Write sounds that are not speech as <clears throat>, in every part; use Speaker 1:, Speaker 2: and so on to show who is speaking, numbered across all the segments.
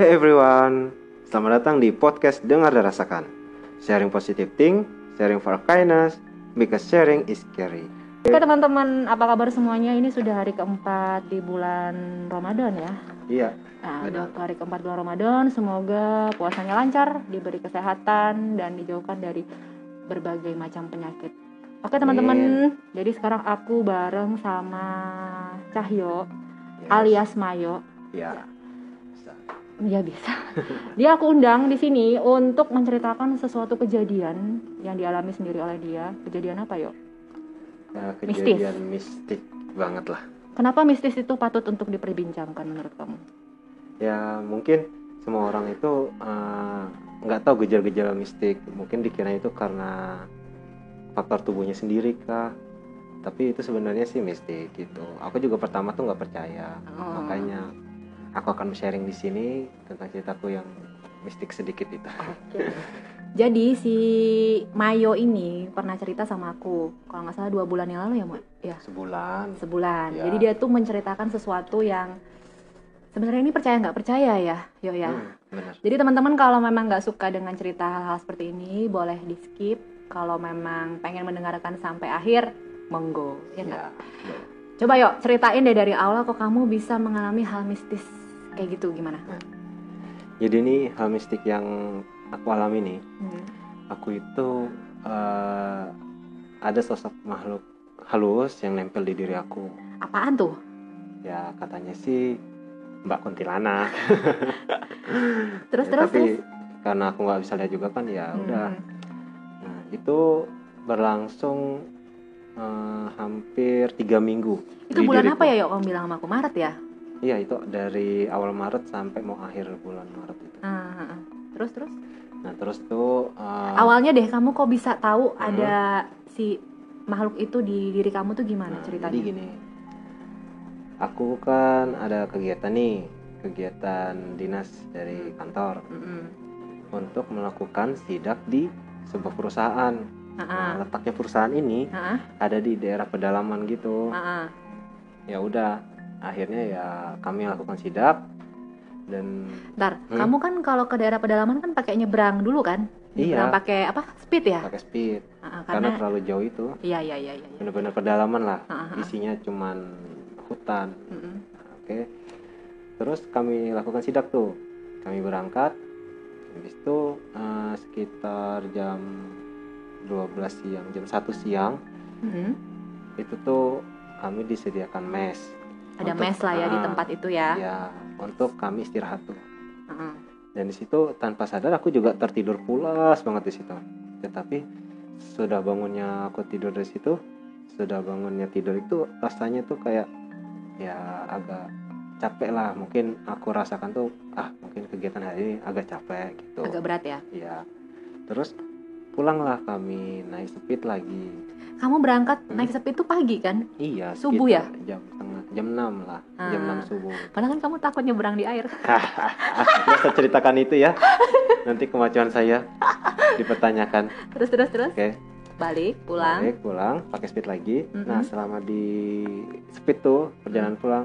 Speaker 1: Hey everyone, selamat datang di podcast Dengar dan Rasakan. Sharing positive thing, sharing for kindness, because sharing is caring.
Speaker 2: Oke teman-teman, apa kabar semuanya? Ini sudah hari keempat di bulan Ramadan ya.
Speaker 1: Iya,
Speaker 2: Nah,
Speaker 1: Benar.
Speaker 2: untuk hari keempat bulan Ramadan, semoga puasanya lancar, diberi kesehatan, dan dijauhkan dari berbagai macam penyakit. Oke teman-teman, jadi sekarang aku bareng sama Cahyo
Speaker 1: yes,
Speaker 2: alias Mayo.
Speaker 1: Iya. <laughs>
Speaker 2: Ya bisa. Dia aku undang di sini untuk menceritakan sesuatu kejadian yang dialami sendiri oleh dia. Kejadian apa, Yo?
Speaker 1: Nah, kejadian mistik banget lah.
Speaker 2: Kenapa mistis itu patut untuk diperbincangkan menurut kamu?
Speaker 1: Ya mungkin semua orang itu eh, nggak tahu gejala-gejala mistik. Mungkin dikira itu karena faktor tubuhnya sendiri kah? Tapi itu sebenarnya sih mistik gitu. Aku juga pertama tuh nggak percaya.
Speaker 2: Oh.
Speaker 1: Makanya aku akan sharing di sini tentang ceritaku yang mistik sedikit itu.
Speaker 2: Jadi si Mayo ini pernah cerita sama aku, kalau nggak salah dua bulan yang lalu ya, Mak? Ya,
Speaker 1: Sebulan.
Speaker 2: sebulan.
Speaker 1: Ya.
Speaker 2: Jadi dia tuh menceritakan sesuatu yang sebenarnya ini percaya nggak percaya ya, Yo ya.
Speaker 1: Hmm, bener.
Speaker 2: Jadi teman-teman kalau memang nggak suka dengan cerita hal-hal seperti ini, boleh di skip. Kalau memang pengen mendengarkan sampai akhir, monggo. Ya nggak?
Speaker 1: Ya.
Speaker 2: Coba yuk ceritain deh dari awal kok kamu bisa mengalami hal mistis kayak gitu gimana?
Speaker 1: Jadi ini hal mistik yang aku alami nih.
Speaker 2: Hmm.
Speaker 1: Aku itu eh, ada sosok makhluk halus yang nempel di diri aku.
Speaker 2: Apaan tuh?
Speaker 1: Ya katanya sih Mbak Kuntilanak.
Speaker 2: Terus
Speaker 1: Ya,
Speaker 2: terus
Speaker 1: Tapi
Speaker 2: terus.
Speaker 1: karena aku nggak bisa lihat juga kan ya
Speaker 2: Hmm.
Speaker 1: udah. Nah, itu berlangsung eh, hampir tiga minggu. di
Speaker 2: Itu bulan
Speaker 1: diriku.
Speaker 2: apa ya yuk kamu bilang sama aku? Maret ya?
Speaker 1: Iya itu dari awal Maret sampai mau akhir bulan Maret itu.
Speaker 2: Ah, terus terus.
Speaker 1: Nah terus tuh eh,
Speaker 2: Awalnya deh kamu kok bisa tahu
Speaker 1: Mhm.
Speaker 2: ada si makhluk itu di diri kamu tuh gimana
Speaker 1: Nah,
Speaker 2: ceritanya?
Speaker 1: Jadi gini, aku kan ada kegiatan nih, kegiatan dinas
Speaker 2: Hmm.
Speaker 1: dari kantor
Speaker 2: Mm-mm.
Speaker 1: untuk melakukan sidak di sebuah perusahaan.
Speaker 2: Ah,
Speaker 1: Nah, letaknya perusahaan ini
Speaker 2: Ah.
Speaker 1: ada di daerah pedalaman gitu.
Speaker 2: ah, ah.
Speaker 1: Ya udah, akhirnya ya kami lakukan sidak dan
Speaker 2: Ntar,
Speaker 1: Hmm.
Speaker 2: kamu kan kalau ke daerah pedalaman kan pakai nyebrang dulu kan?
Speaker 1: Iya.
Speaker 2: Nyebrang pakai apa? Speed ya?
Speaker 1: pakai speed
Speaker 2: Ah, ah,
Speaker 1: karena
Speaker 2: karena,
Speaker 1: terlalu jauh itu
Speaker 2: iya iya iya iya. iya.
Speaker 1: bener-bener pedalaman lah.
Speaker 2: Ah, ah, ah.
Speaker 1: Isinya cuman hutan.
Speaker 2: Mm-mm.
Speaker 1: Oke. Terus kami lakukan sidak tuh. Kami berangkat. Habis itu eh, sekitar jam 12 siang, jam 1 siang
Speaker 2: Mm-mm.
Speaker 1: itu tuh kami disediakan mes.
Speaker 2: Ada
Speaker 1: Untuk-
Speaker 2: mes lah ya di
Speaker 1: ah,
Speaker 2: tempat itu ya.
Speaker 1: Ya, untuk kami istirahat tuh.
Speaker 2: Ah, ah.
Speaker 1: Dan di situ tanpa sadar aku juga tertidur pulas banget di situ. Tetapi sudah bangunnya aku tidur dari situ, sudah bangunnya tidur itu rasanya tuh kayak ya agak capek lah. Mungkin aku rasakan tuh ah mungkin kegiatan hari ini agak capek gitu.
Speaker 2: Agak berat ya.
Speaker 1: Ya. Terus pulanglah kami naik speed lagi.
Speaker 2: Kamu berangkat
Speaker 1: Hmm.
Speaker 2: naik sepi itu pagi kan?
Speaker 1: Iya,
Speaker 2: Subuh ya?
Speaker 1: sekitar Jam setengah jam 6 lah, jam
Speaker 2: Ah.
Speaker 1: 6 subuh.
Speaker 2: Padahal kan kamu takut nyebrang di air. <laughs>
Speaker 1: Ya, saya ceritakan itu ya. Nanti kemajuan saya dipertanyakan.
Speaker 2: Terus terus terus.
Speaker 1: Oke.
Speaker 2: Balik, pulang.
Speaker 1: Balik, pulang, pakai speed lagi.
Speaker 2: Mhm.
Speaker 1: Nah, selama di speed tuh perjalanan
Speaker 2: Mm.
Speaker 1: pulang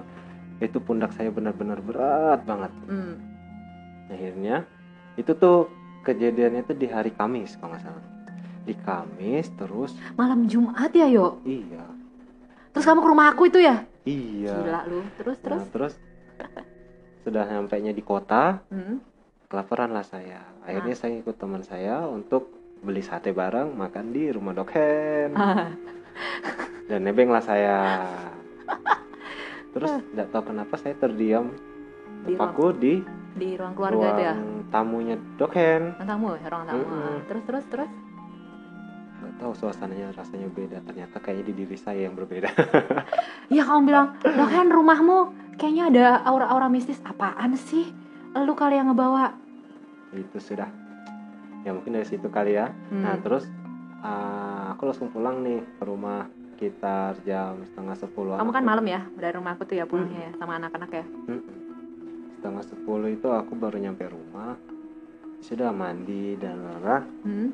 Speaker 1: itu pundak saya benar-benar berat banget.
Speaker 2: Hmm.
Speaker 1: Akhirnya itu tuh kejadiannya tuh di hari Kamis kalau nggak salah. Di Kamis terus
Speaker 2: Malam Jumat ya, Yo.
Speaker 1: iya.
Speaker 2: Terus kamu ke rumah aku itu ya?
Speaker 1: Iya.
Speaker 2: Gila lu. Terus
Speaker 1: Nah,
Speaker 2: terus.
Speaker 1: terus sudah nyampe di kota,
Speaker 2: Hmm.
Speaker 1: kelaparan lah saya.
Speaker 2: Ah.
Speaker 1: Akhirnya saya ikut teman saya untuk beli sate bareng makan di rumah Dokhen. dan nebeng lah saya terus nggak tahu kenapa saya terdiam
Speaker 2: <laughs> Di
Speaker 1: terpaku di
Speaker 2: di ruang keluarga
Speaker 1: ruang
Speaker 2: ada.
Speaker 1: tamunya Dokhen
Speaker 2: Ruang tamu, ya, ruang tamu.
Speaker 1: Mm-mm.
Speaker 2: Terus terus terus.
Speaker 1: nggak tahu suasananya rasanya beda ternyata kayaknya di diri saya yang berbeda <laughs>
Speaker 2: Iya kamu bilang, "Loh kan rumahmu kayaknya ada aura-aura mistis apaan sih? Lu kali yang ngebawa."
Speaker 1: itu sudah ya mungkin dari situ kali ya
Speaker 2: Hmm.
Speaker 1: nah terus ah, aku langsung pulang nih ke rumah sekitar jam setengah sepuluh
Speaker 2: kamu kan malam ya dari rumah aku tuh ya pulangnya ya
Speaker 1: Hmm.
Speaker 2: sama anak-anak ya.
Speaker 1: setengah sepuluh itu aku baru nyampe rumah sudah mandi dan lelah
Speaker 2: Hmm.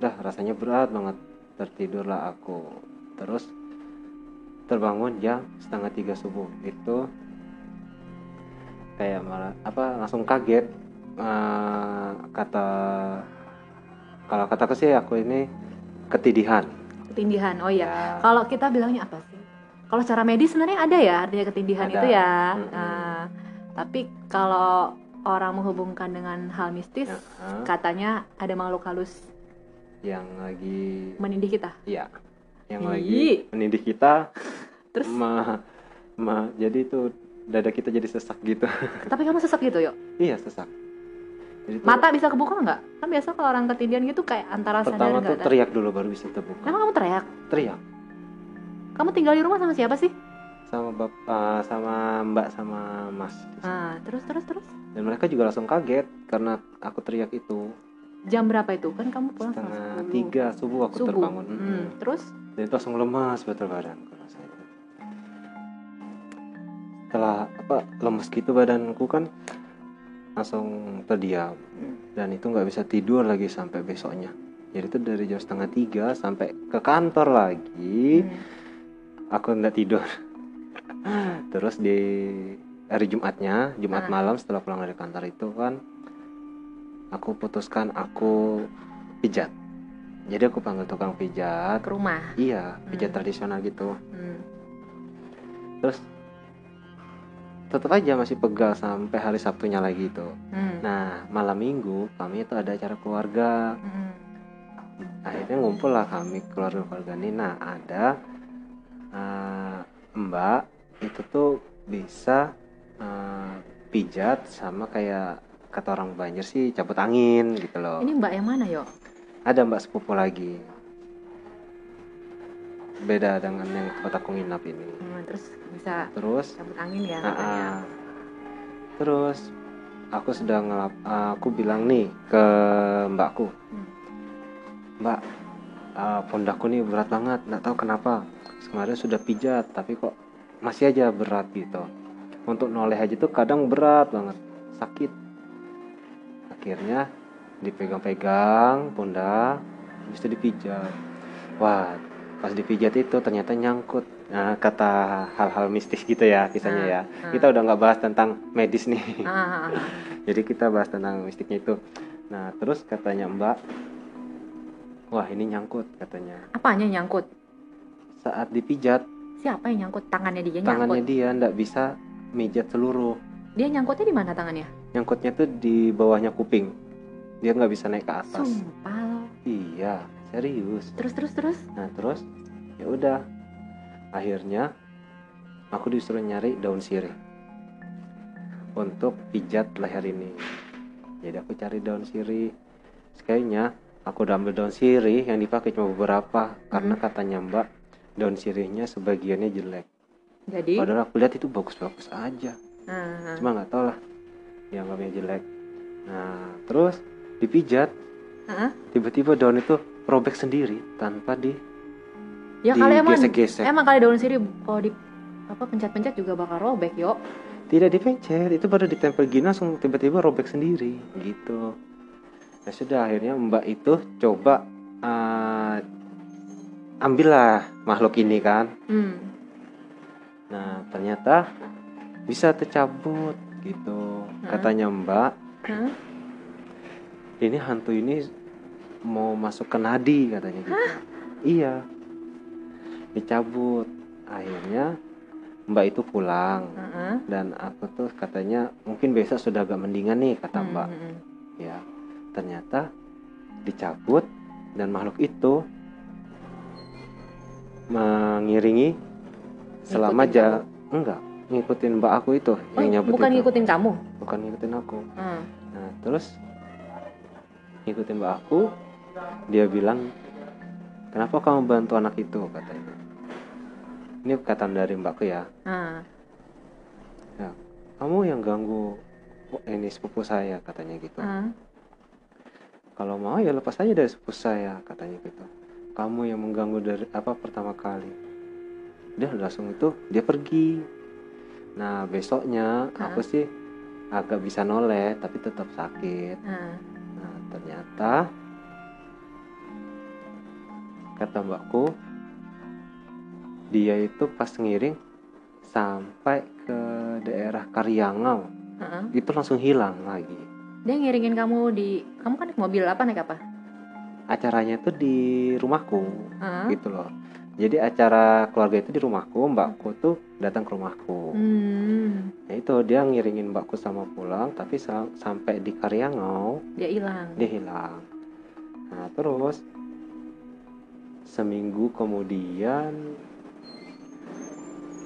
Speaker 1: Dah rasanya berat banget. Tertidurlah aku. Terus terbangun jam setengah tiga subuh. Itu kayak malah apa langsung kaget eh, kata kalau kataku sih aku ini ketidihan
Speaker 2: ketindihan oh
Speaker 1: Ya.
Speaker 2: iya kalau kita bilangnya apa sih kalau secara medis sebenarnya ada ya artinya
Speaker 1: Ada.
Speaker 2: ketindihan
Speaker 1: Hmm.
Speaker 2: itu ya
Speaker 1: Mm-mm.
Speaker 2: Nah, tapi kalau orang menghubungkan dengan hal mistis
Speaker 1: Ya, eh,
Speaker 2: katanya ada makhluk halus
Speaker 1: yang lagi
Speaker 2: menindih kita
Speaker 1: Iya. Yang
Speaker 2: Ih.
Speaker 1: lagi menindih kita
Speaker 2: terus
Speaker 1: ma, ma- jadi itu dada kita jadi sesak gitu. <laughs>
Speaker 2: tapi kamu sesak gitu yuk
Speaker 1: iya, sesak. Jadi tuh
Speaker 2: mata bisa kebuka nggak kan biasa kalau orang ketindihan gitu kayak antara
Speaker 1: pertama
Speaker 2: sadar
Speaker 1: tuh
Speaker 2: nggak ada
Speaker 1: teriak dulu baru bisa terbuka.
Speaker 2: emang kamu teriak
Speaker 1: Teriak
Speaker 2: kamu tinggal di rumah sama siapa sih
Speaker 1: sama bap- eh, sama Mbak sama Mas.
Speaker 2: nah, terus terus terus
Speaker 1: Dan mereka juga langsung kaget karena aku teriak itu
Speaker 2: jam berapa itu kan kamu pulang
Speaker 1: setengah
Speaker 2: sepuluh.
Speaker 1: tiga subuh aku
Speaker 2: Subuh.
Speaker 1: terbangun.
Speaker 2: Hmm,
Speaker 1: Mm.
Speaker 2: terus
Speaker 1: Dan itu langsung lemas betul badanku rasanya. Setelah apa lemes gitu badanku kan langsung terdiam
Speaker 2: Hmm.
Speaker 1: dan itu nggak bisa tidur lagi sampai besoknya. Jadi itu dari jam setengah tiga sampai ke kantor lagi
Speaker 2: hmm,
Speaker 1: aku nggak tidur. Terus di hari Jumatnya, Jumat
Speaker 2: Ah.
Speaker 1: malam setelah pulang dari kantor itu kan aku putuskan aku pijat. Jadi aku panggil tukang pijat
Speaker 2: ke rumah
Speaker 1: Iya, pijat
Speaker 2: Hmm.
Speaker 1: tradisional gitu.
Speaker 2: Hmm.
Speaker 1: Terus tetap aja masih pegal sampai hari Sabtunya lagi itu.
Speaker 2: Hmm.
Speaker 1: Nah, malam Minggu kami itu ada acara keluarga.
Speaker 2: Hmm.
Speaker 1: Akhirnya ngumpul lah kami keluarga-keluarga ini. Nah, ada eh, Mbak itu tuh bisa eh, pijat sama kayak kata orang Banjir sih cabut angin gitu loh.
Speaker 2: ini mbak yang mana yuk
Speaker 1: ada mbak sepupu lagi. Beda dengan yang tempat aku nginap ini.
Speaker 2: Hmm, terus bisa
Speaker 1: Terus
Speaker 2: cabut angin ya
Speaker 1: Ah,
Speaker 2: katanya
Speaker 1: ah. Terus aku sedang ngelap, eh, aku bilang nih ke mbakku,
Speaker 2: Hmm.
Speaker 1: mbak, ah, pundakku nih berat banget, nggak tahu kenapa. Kemarin sudah pijat, tapi kok masih aja berat gitu. Untuk noleh aja tuh kadang berat banget, sakit. Akhirnya dipegang-pegang pundak, habis itu dipijat. Wah, pas dipijat itu ternyata nyangkut. Nah, kata hal-hal mistis gitu ya kisahnya
Speaker 2: Ah,
Speaker 1: ya
Speaker 2: Ah,
Speaker 1: kita udah nggak bahas tentang medis nih <laughs>
Speaker 2: ah, ah, ah.
Speaker 1: jadi kita bahas tentang mistiknya itu nah terus katanya mbak wah ini nyangkut katanya
Speaker 2: apanya yang nyangkut
Speaker 1: saat dipijat
Speaker 2: siapa yang nyangkut tangannya dia
Speaker 1: tangannya
Speaker 2: nyangkut
Speaker 1: dia nggak bisa mijat seluruh
Speaker 2: dia nyangkutnya di mana tangannya
Speaker 1: nyangkutnya tuh di bawahnya kuping dia nggak bisa naik ke atas
Speaker 2: sumpah lo.
Speaker 1: iya serius
Speaker 2: terus terus terus
Speaker 1: nah terus ya udah akhirnya aku disuruh nyari daun sirih untuk pijat leher ini jadi aku cari daun sirih Terus kayaknya aku udah ambil daun sirih yang dipakai cuma beberapa
Speaker 2: Hmm.
Speaker 1: karena katanya mbak daun sirihnya sebagiannya jelek
Speaker 2: jadi
Speaker 1: padahal aku lihat itu bagus-bagus aja
Speaker 2: ah,
Speaker 1: cuma nggak tau lah dianggapnya jelek nah terus dipijat
Speaker 2: Heeh.
Speaker 1: tiba-tiba daun itu robek sendiri tanpa di
Speaker 2: ya kali emang
Speaker 1: digesek-gesek
Speaker 2: emang kali daun sirih kalau di apa pencet-pencet juga bakal robek yuk
Speaker 1: tidak dipencet itu baru ditempel gini langsung tiba-tiba robek sendiri gitu ya sudah akhirnya mbak itu coba eh, ambillah makhluk ini kan
Speaker 2: hmm.
Speaker 1: nah ternyata bisa tercabut gitu katanya mbak
Speaker 2: Hah?
Speaker 1: ini hantu ini mau masuk ke nadi katanya gitu iya dicabut akhirnya mbak itu pulang
Speaker 2: Ah, ah.
Speaker 1: dan aku tuh katanya mungkin besok sudah agak mendingan nih kata
Speaker 2: Hmm,
Speaker 1: mbak
Speaker 2: hmm, hmm.
Speaker 1: ya ternyata dicabut dan makhluk itu mengiringi selama
Speaker 2: Ngikutin
Speaker 1: ja enggak ngikutin mbak aku itu
Speaker 2: Oh,
Speaker 1: yang nyabut
Speaker 2: bukan
Speaker 1: itu.
Speaker 2: ngikutin kamu
Speaker 1: bukan ngikutin aku
Speaker 2: Ah.
Speaker 1: nah terus ngikutin mbak aku dia bilang kenapa kamu bantu anak itu katanya ini perkataan dari mbakku ya
Speaker 2: Ah.
Speaker 1: kamu yang ganggu ini sepupu saya katanya gitu
Speaker 2: Ah.
Speaker 1: kalau mau ya lepas aja dari sepupu saya katanya gitu kamu yang mengganggu dari apa pertama kali dia langsung itu dia pergi nah besoknya
Speaker 2: Ah.
Speaker 1: aku sih agak bisa noleh tapi tetap sakit
Speaker 2: Ah.
Speaker 1: nah ternyata kata mbakku dia itu pas ngiring sampai ke daerah Karyangau
Speaker 2: Heeh.
Speaker 1: itu langsung hilang lagi
Speaker 2: Dia ngiringin kamu di kamu kan naik mobil apa naik apa?
Speaker 1: acaranya tuh di rumahku
Speaker 2: Heeh.
Speaker 1: gitu loh jadi acara keluarga itu di rumahku mbakku tuh datang ke rumahku
Speaker 2: Hmm,
Speaker 1: ya itu dia ngiringin mbakku sama pulang tapi sa- sampai di Karyangau
Speaker 2: dia hilang.
Speaker 1: dia hilang nah terus seminggu kemudian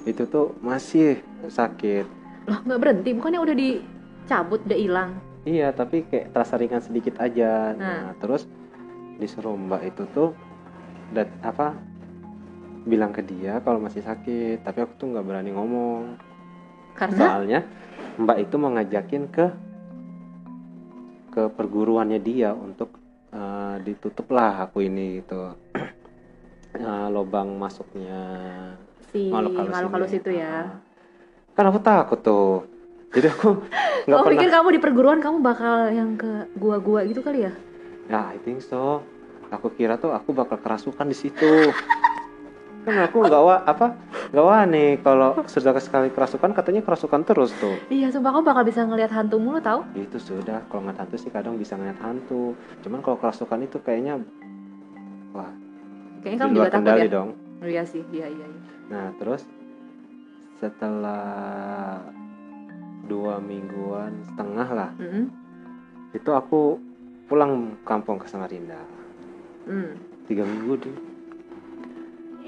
Speaker 1: itu tuh masih sakit
Speaker 2: Loh, nggak berhenti. Bukannya udah dicabut, udah hilang.
Speaker 1: Iya, tapi kayak terasa ringan sedikit aja. Nah,
Speaker 2: Nah.
Speaker 1: terus disuruh Mbak itu tuh dat apa bilang ke dia kalau masih sakit, tapi aku tuh nggak berani ngomong.
Speaker 2: Karena
Speaker 1: Soalnya Mbak itu mau ngajakin ke ke perguruannya dia untuk eh, ditutuplah aku ini gitu. <clears throat> Eh, lobang masuknya
Speaker 2: si
Speaker 1: makhluk halus
Speaker 2: makhluk
Speaker 1: ini.
Speaker 2: halus itu ya.
Speaker 1: Kan aku takut tuh. Jadi aku nggak
Speaker 2: <laughs> Kamu
Speaker 1: pernah
Speaker 2: Oh, pikir kamu di perguruan kamu bakal yang ke gua-gua gitu kali ya?
Speaker 1: Ya, I think so. Aku kira tuh aku bakal kerasukan di situ. kan aku nggak wa apa nggak nih kalau sudah sekali kerasukan katanya kerasukan terus tuh.
Speaker 2: Iya, sumpah kamu bakal bisa ngelihat hantu mulu tau?
Speaker 1: Itu sudah kalau ngeliat hantu sih kadang bisa ngeliat hantu. Cuman kalau kerasukan itu kayaknya
Speaker 2: Kayaknya
Speaker 1: di
Speaker 2: kamu
Speaker 1: luar
Speaker 2: juga takut
Speaker 1: kendali
Speaker 2: ya?
Speaker 1: dong.
Speaker 2: Iya sih, iya iya. iya.
Speaker 1: Nah terus setelah dua mingguan setengah lah
Speaker 2: Mm-mm.
Speaker 1: itu aku pulang kampung ke Samarinda
Speaker 2: Mm.
Speaker 1: tiga minggu deh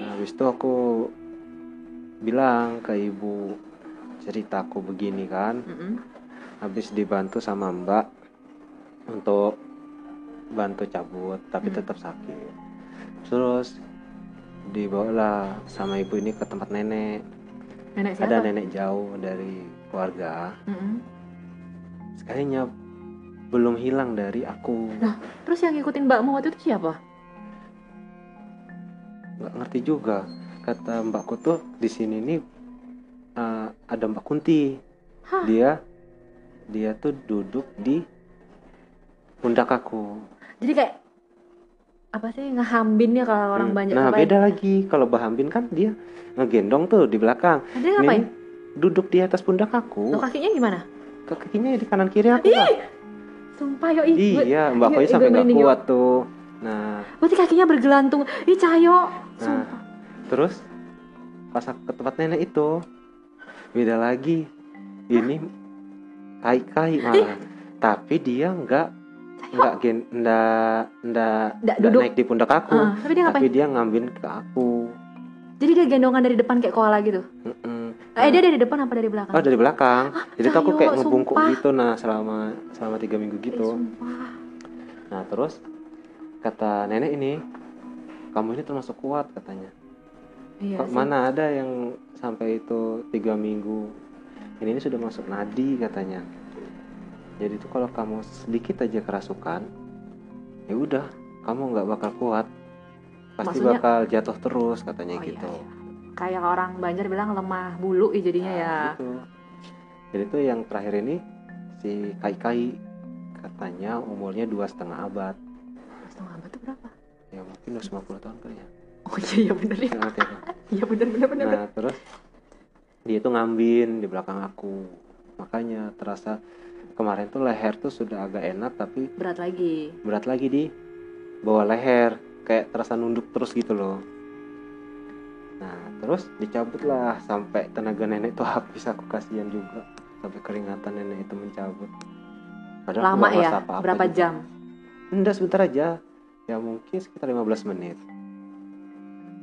Speaker 1: nah, habis itu aku bilang ke ibu cerita aku begini kan
Speaker 2: Mm-mm.
Speaker 1: habis dibantu sama mbak untuk bantu cabut tapi
Speaker 2: Hmm.
Speaker 1: tetap sakit terus dibawalah sama ibu ini ke tempat nenek
Speaker 2: Nenek
Speaker 1: ada
Speaker 2: siapa?
Speaker 1: nenek jauh dari keluarga
Speaker 2: Mm-mm.
Speaker 1: sekalinya belum hilang dari aku
Speaker 2: Terus yang ngikutin mbakmu waktu itu siapa?
Speaker 1: nggak ngerti juga kata mbakku tuh di sini nih eh, ada mbak Kunti
Speaker 2: Hah?
Speaker 1: dia dia tuh duduk di pundak aku
Speaker 2: Jadi kayak apa sih ngehambin ya kalau orang
Speaker 1: Hmm.
Speaker 2: banyak
Speaker 1: nah
Speaker 2: ngapain?
Speaker 1: beda lagi kalau Mbak Hambin kan dia ngegendong tuh di belakang
Speaker 2: Dia ngapain?
Speaker 1: Ini duduk di atas pundak aku
Speaker 2: Loh, kan? Iya, kakinya gimana?
Speaker 1: ke kakinya di kanan kiri aku Kak.
Speaker 2: Sumpah yo ih, gue-
Speaker 1: iya mbak
Speaker 2: ih,
Speaker 1: Koi
Speaker 2: gue
Speaker 1: sampai nggak
Speaker 2: merinding, yuk.
Speaker 1: kuat tuh nah
Speaker 2: berarti kakinya bergelantung. Ih Cayo,
Speaker 1: nah
Speaker 2: sumpah.
Speaker 1: terus pas aku ke tempat nenek itu beda lagi ini kai-kai malah tapi dia nggak nggak gen nggak nggak
Speaker 2: Nggak
Speaker 1: nggak
Speaker 2: duduk.
Speaker 1: naik di pundak aku
Speaker 2: Ah, tapi dia ngapain?
Speaker 1: tapi dia ngambil ke aku
Speaker 2: Jadi dia gendongan dari depan kayak koala gitu.
Speaker 1: Mm-mm.
Speaker 2: Eh dia dari depan apa dari belakang?
Speaker 1: oh dari belakang jadi tuh aku
Speaker 2: Cayo,
Speaker 1: kayak ngebungkuk
Speaker 2: Ah, oh, sumpah.
Speaker 1: gitu nah selama selama tiga minggu
Speaker 2: Ih,
Speaker 1: gitu
Speaker 2: sumpah.
Speaker 1: nah terus kata nenek ini kamu ini termasuk kuat katanya
Speaker 2: Iya.
Speaker 1: Kok
Speaker 2: sih.
Speaker 1: mana ada yang sampai itu tiga minggu ini, ini sudah masuk nadi katanya jadi itu kalau kamu sedikit aja kerasukan ya udah kamu nggak bakal kuat pasti
Speaker 2: Maksudnya-
Speaker 1: bakal jatuh terus katanya
Speaker 2: Oh, iya,
Speaker 1: gitu
Speaker 2: iya. Kayak orang Banjar bilang lemah bulu ih, jadinya
Speaker 1: Nah,
Speaker 2: ya.
Speaker 1: gitu. jadi itu yang terakhir ini si kai kai katanya umurnya dua setengah abad Nah.
Speaker 2: Setengah abad itu berapa?
Speaker 1: ya mungkin udah 90 tahun kali ya
Speaker 2: Oh iya iya bener ya.
Speaker 1: Nggak ngerti aku.
Speaker 2: Iya bener bener bener. bener.
Speaker 1: Nah terus dia itu ngambin di belakang aku makanya terasa kemarin tuh leher tuh sudah agak enak tapi
Speaker 2: Berat lagi.
Speaker 1: berat lagi di bawah leher kayak terasa nunduk terus gitu loh. Nah terus dicabutlah sampai tenaga nenek tuh <laughs> habis aku kasihan juga sampai keringatan nenek itu mencabut. Padahal aku
Speaker 2: Lama
Speaker 1: nggak merasa
Speaker 2: ya?
Speaker 1: apa-apa
Speaker 2: Berapa
Speaker 1: juga.
Speaker 2: jam?
Speaker 1: Enggak sebentar aja Ya mungkin sekitar 15 menit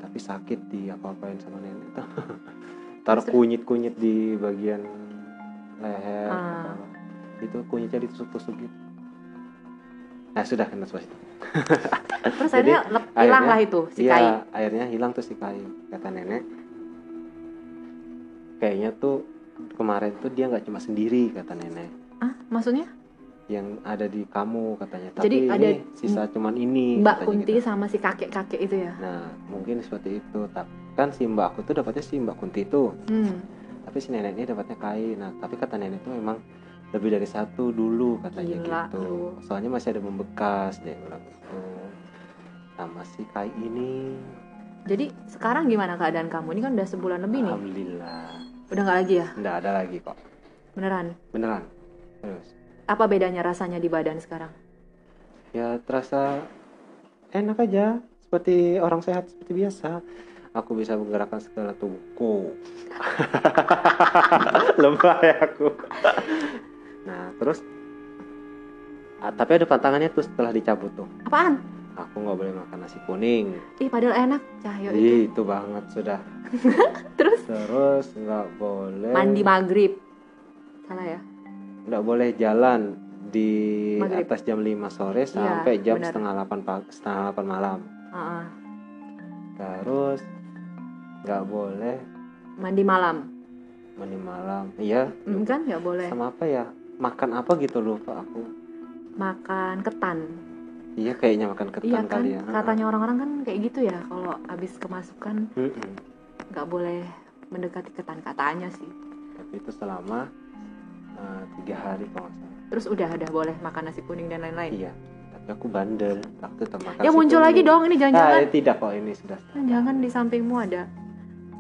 Speaker 1: Tapi sakit di apa-apain sama nenek tuh. <laughs> Taruh
Speaker 2: Terus-
Speaker 1: kunyit-kunyit di bagian leher
Speaker 2: Ah.
Speaker 1: kepala. Itu kunyitnya ditusuk-tusuk gitu Nah sudah kena pas itu
Speaker 2: Terus
Speaker 1: Jadi,
Speaker 2: akhirnya lep- hilang
Speaker 1: akhirnya-
Speaker 2: lah itu si
Speaker 1: Iya
Speaker 2: kai.
Speaker 1: akhirnya hilang tuh si kai Kata nenek Kayaknya tuh kemarin tuh dia nggak cuma sendiri kata nenek
Speaker 2: Ah, maksudnya
Speaker 1: yang ada di kamu katanya tapi
Speaker 2: Jadi
Speaker 1: ini
Speaker 2: ada
Speaker 1: sisa cuman ini
Speaker 2: Mbak
Speaker 1: katanya
Speaker 2: Kunti
Speaker 1: gitu.
Speaker 2: sama si kakek-kakek itu ya.
Speaker 1: Nah, mungkin seperti itu. Tapi kan si Mbak aku tuh dapatnya si Mbak Kunti itu,
Speaker 2: Hmm.
Speaker 1: tapi si nenek ini dapatnya Kai. Nah, tapi kata nenek itu memang lebih dari satu dulu katanya
Speaker 2: Gila,
Speaker 1: gitu.
Speaker 2: lu.
Speaker 1: Soalnya masih ada membekas dia bilang gitu. Sama si Kai ini,
Speaker 2: Jadi sekarang gimana keadaan kamu? Ini kan udah sebulan lebih nih.
Speaker 1: alhamdulillah,
Speaker 2: Udah nggak lagi ya?
Speaker 1: nggak ada lagi kok.
Speaker 2: Beneran.
Speaker 1: beneran terus
Speaker 2: Apa bedanya rasanya di badan sekarang?
Speaker 1: ya terasa enak aja seperti orang sehat seperti biasa aku bisa menggerakkan segala tubuhku <laughs> lemah ya aku nah terus ah, tapi ada pantangannya tuh setelah dicabut tuh
Speaker 2: Apaan?
Speaker 1: aku nggak boleh makan nasi kuning
Speaker 2: Ih, padahal enak cahyo itu.
Speaker 1: Ih, itu banget sudah
Speaker 2: Terus
Speaker 1: terus nggak boleh
Speaker 2: mandi maghrib. Salah ya?
Speaker 1: nggak boleh jalan di
Speaker 2: Maghrib. Iya,
Speaker 1: atas jam 5 sore sampai jam
Speaker 2: benar.
Speaker 1: setengah 8 pag- setengah 8 malam
Speaker 2: Heeh.
Speaker 1: terus nggak boleh
Speaker 2: Mandi malam.
Speaker 1: mandi malam iya
Speaker 2: Mm, kan nggak boleh.
Speaker 1: sama apa ya makan apa gitu lupa aku
Speaker 2: Makan ketan.
Speaker 1: iya kayaknya makan ketan
Speaker 2: Iya kan?
Speaker 1: kali ya
Speaker 2: Katanya orang-orang kan kayak gitu ya kalau habis kemasukan
Speaker 1: Mm-mm.
Speaker 2: nggak boleh mendekati ketan katanya sih.
Speaker 1: tapi itu selama eh, tiga hari kalau nggak salah
Speaker 2: Terus udah ada boleh makan nasi kuning dan lain-lain.
Speaker 1: iya tapi aku bandel waktu itu makan
Speaker 2: Ya
Speaker 1: nasi
Speaker 2: muncul lagi
Speaker 1: kuning.
Speaker 2: dong ini jangan-jangan
Speaker 1: Ah, eh, tidak kok ini sudah
Speaker 2: Nah, jangan di sampingmu ada.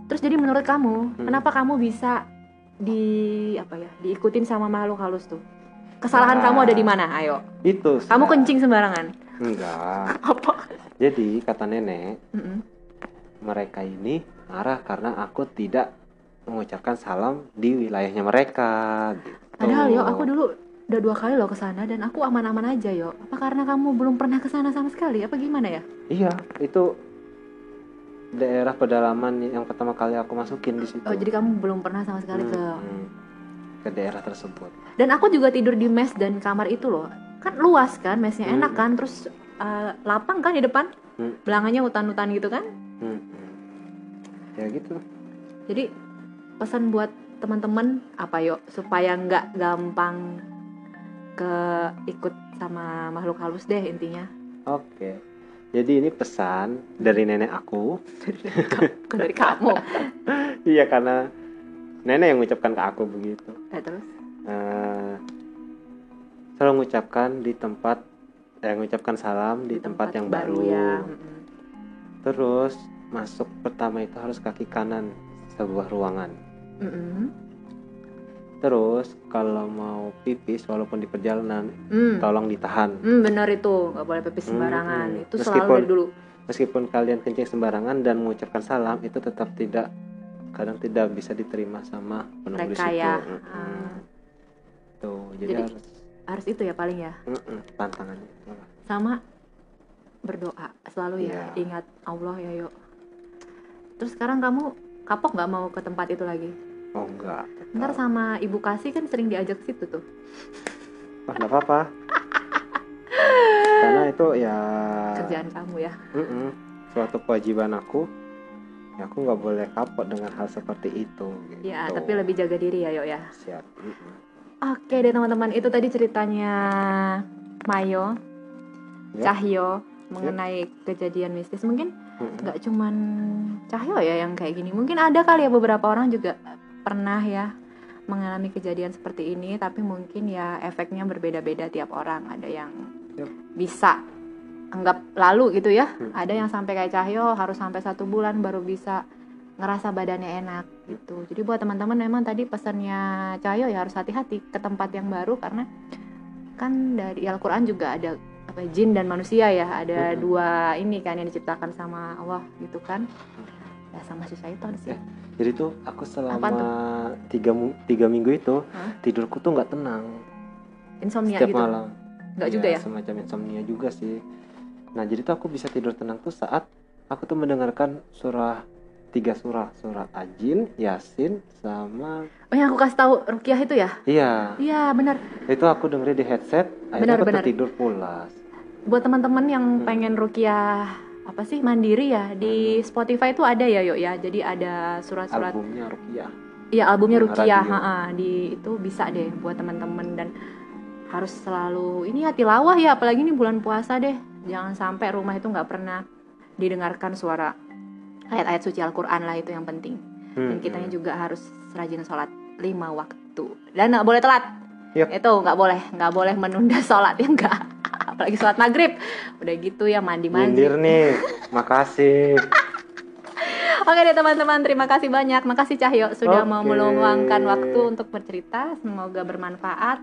Speaker 2: Terus jadi menurut kamu,
Speaker 1: Hmm.
Speaker 2: kenapa kamu bisa di apa ya, diikutin sama makhluk halus tuh? Kesalahan
Speaker 1: Nah.
Speaker 2: kamu ada di mana? Ayo.
Speaker 1: itu sudah.
Speaker 2: Kamu kencing sembarangan.
Speaker 1: enggak
Speaker 2: Apa?
Speaker 1: jadi kata nenek
Speaker 2: Mm-mm.
Speaker 1: mereka ini marah karena aku tidak mengucapkan salam di wilayahnya mereka gitu.
Speaker 2: Padahal yo, aku dulu udah dua kali loh ke sana dan aku aman-aman aja yo. Apa karena kamu belum pernah ke sana sama sekali? Apa gimana ya?
Speaker 1: Iya, itu daerah pedalaman yang pertama kali aku masukin di situ.
Speaker 2: Oh, jadi kamu belum pernah sama sekali
Speaker 1: Hmm,
Speaker 2: ke.
Speaker 1: hmm. ke daerah tersebut.
Speaker 2: Dan aku juga tidur di mes dan kamar itu loh. Kan luas kan, mesnya
Speaker 1: Hmm.
Speaker 2: enak kan, terus eh, lapang kan di depan.
Speaker 1: Hmm.
Speaker 2: Belangannya hutan-hutan gitu kan.
Speaker 1: Hmm, hmm. Ya gitu.
Speaker 2: Jadi pesan buat teman-teman apa yuk supaya nggak gampang ke ikut sama makhluk halus deh intinya. <laughs>
Speaker 1: Oke. Jadi ini pesan dari nenek aku. <laughs>
Speaker 2: Bukan dari kamu.
Speaker 1: Iya karena nenek yang mengucapkan ke aku begitu.
Speaker 2: Eh, terus
Speaker 1: Eh, selalu mengucapkan di tempat yang mengucapkan salam di, tempat, yang baru.
Speaker 2: ya. Mm-mm.
Speaker 1: Terus masuk pertama itu harus kaki kanan sebuah ruangan.
Speaker 2: Mm-mm.
Speaker 1: Terus kalau mau pipis walaupun di perjalanan
Speaker 2: Mm.
Speaker 1: tolong ditahan.
Speaker 2: Mm, bener itu nggak boleh pipis sembarangan
Speaker 1: Mm-mm.
Speaker 2: itu selalu
Speaker 1: Meskipun-
Speaker 2: dari dulu
Speaker 1: Meskipun kalian kencing sembarangan dan mengucapkan salam itu tetap tidak kadang tidak bisa diterima sama penunggu di
Speaker 2: Mereka
Speaker 1: situ.
Speaker 2: ya.
Speaker 1: Mm-mm.
Speaker 2: Ah.
Speaker 1: Tuh, jadi,
Speaker 2: Jadi-
Speaker 1: harus
Speaker 2: harus itu ya paling ya
Speaker 1: mm-mm, tantangannya. itu.
Speaker 2: sama berdoa selalu
Speaker 1: Iya.
Speaker 2: ya ingat Allah ya yuk terus sekarang kamu kapok nggak mau ke tempat itu lagi
Speaker 1: Oh enggak. tetap.
Speaker 2: ntar sama ibu kasih kan sering diajak ke situ tuh
Speaker 1: Wah, enggak apa-apa. Karena itu ya
Speaker 2: kerjaan kamu ya
Speaker 1: Mm-mm. suatu kewajiban aku ya aku nggak boleh kapok dengan hal seperti itu gitu.
Speaker 2: Ya, tapi lebih jaga diri ya, Yo ya.
Speaker 1: siap Mm-mm.
Speaker 2: Oke deh teman-teman, itu tadi ceritanya Mayo,
Speaker 1: Ya. Yep.
Speaker 2: Cahyo mengenai kejadian mistis. Mungkin
Speaker 1: Mm-mm.
Speaker 2: nggak cuman Cahyo ya yang kayak gini. Mungkin ada kali ya beberapa orang juga pernah ya mengalami kejadian seperti ini, tapi mungkin ya efeknya berbeda-beda tiap orang. Ada yang
Speaker 1: Yep.
Speaker 2: bisa anggap lalu gitu ya.
Speaker 1: Mm-mm.
Speaker 2: Ada yang sampai kayak Cahyo harus sampai satu bulan baru bisa ngerasa badannya enak gitu. Jadi buat teman-teman memang tadi pesannya Cahyo ya harus hati-hati ke tempat yang baru karena kan dari Al-Qur'an juga ada apa jin dan manusia ya, ada
Speaker 1: Mhm.
Speaker 2: dua ini kan yang diciptakan sama Allah gitu kan. Ya sama si syaitan sih.
Speaker 1: Eh, jadi tuh aku selama
Speaker 2: Apaan
Speaker 1: tiga mu- tiga minggu itu
Speaker 2: Hah?
Speaker 1: tidurku tuh nggak tenang
Speaker 2: Insomnia
Speaker 1: setiap
Speaker 2: gitu.
Speaker 1: malam Iya,
Speaker 2: Enggak juga ya?
Speaker 1: semacam insomnia juga sih nah jadi tuh aku bisa tidur tenang tuh saat aku tuh mendengarkan surah tiga surah surah ajin yasin sama
Speaker 2: Oh yang aku kasih tahu Rukiah itu ya?
Speaker 1: iya
Speaker 2: Iya, benar.
Speaker 1: itu aku dengerin di headset
Speaker 2: Benar,
Speaker 1: akhirnya aku
Speaker 2: benar.
Speaker 1: tertidur pulas
Speaker 2: Buat teman-teman yang
Speaker 1: Hmm.
Speaker 2: pengen Rukiah apa sih mandiri ya di Spotify itu ada ya, Yuk ya. Jadi ada surat-surat
Speaker 1: albumnya rupiah
Speaker 2: Iya albumnya
Speaker 1: Yang
Speaker 2: Rukiah,
Speaker 1: radio.
Speaker 2: ha-ha, di itu bisa deh buat teman-teman dan harus selalu ini ya tilawah ya apalagi ini bulan puasa deh jangan sampai rumah itu nggak pernah didengarkan suara ayat-ayat suci Al-Quran lah itu yang penting dan
Speaker 1: Hmm,
Speaker 2: kitanya juga harus rajin sholat lima waktu dan nggak boleh telat
Speaker 1: Yap.
Speaker 2: itu nggak boleh nggak boleh menunda <laughs> sholat ya nggak apalagi sholat <laughs> maghrib udah gitu ya mandi mandi
Speaker 1: Nyindir nih, makasih.
Speaker 2: oke Oke deh teman-teman, terima kasih banyak. Makasih Cahyo sudah mau
Speaker 1: Oke.
Speaker 2: meluangkan waktu untuk bercerita. Semoga bermanfaat.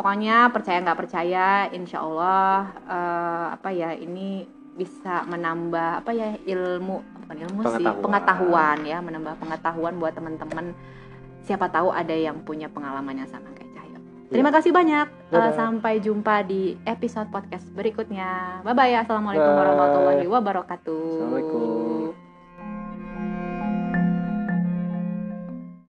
Speaker 2: Pokoknya percaya nggak percaya, insya Allah eh, apa ya ini bisa menambah apa ya ilmu bukan ilmu sih
Speaker 1: Pengetahuan.
Speaker 2: pengetahuan ya menambah pengetahuan buat teman-teman siapa tahu ada yang punya pengalaman yang sama kayak Cahyo terima kasih banyak
Speaker 1: Iya.
Speaker 2: Eh,
Speaker 1: Dadah.
Speaker 2: sampai jumpa di episode podcast berikutnya bye bye ya assalamualaikum
Speaker 1: Bye.
Speaker 2: warahmatullahi wabarakatuh
Speaker 1: Assalamualaikum.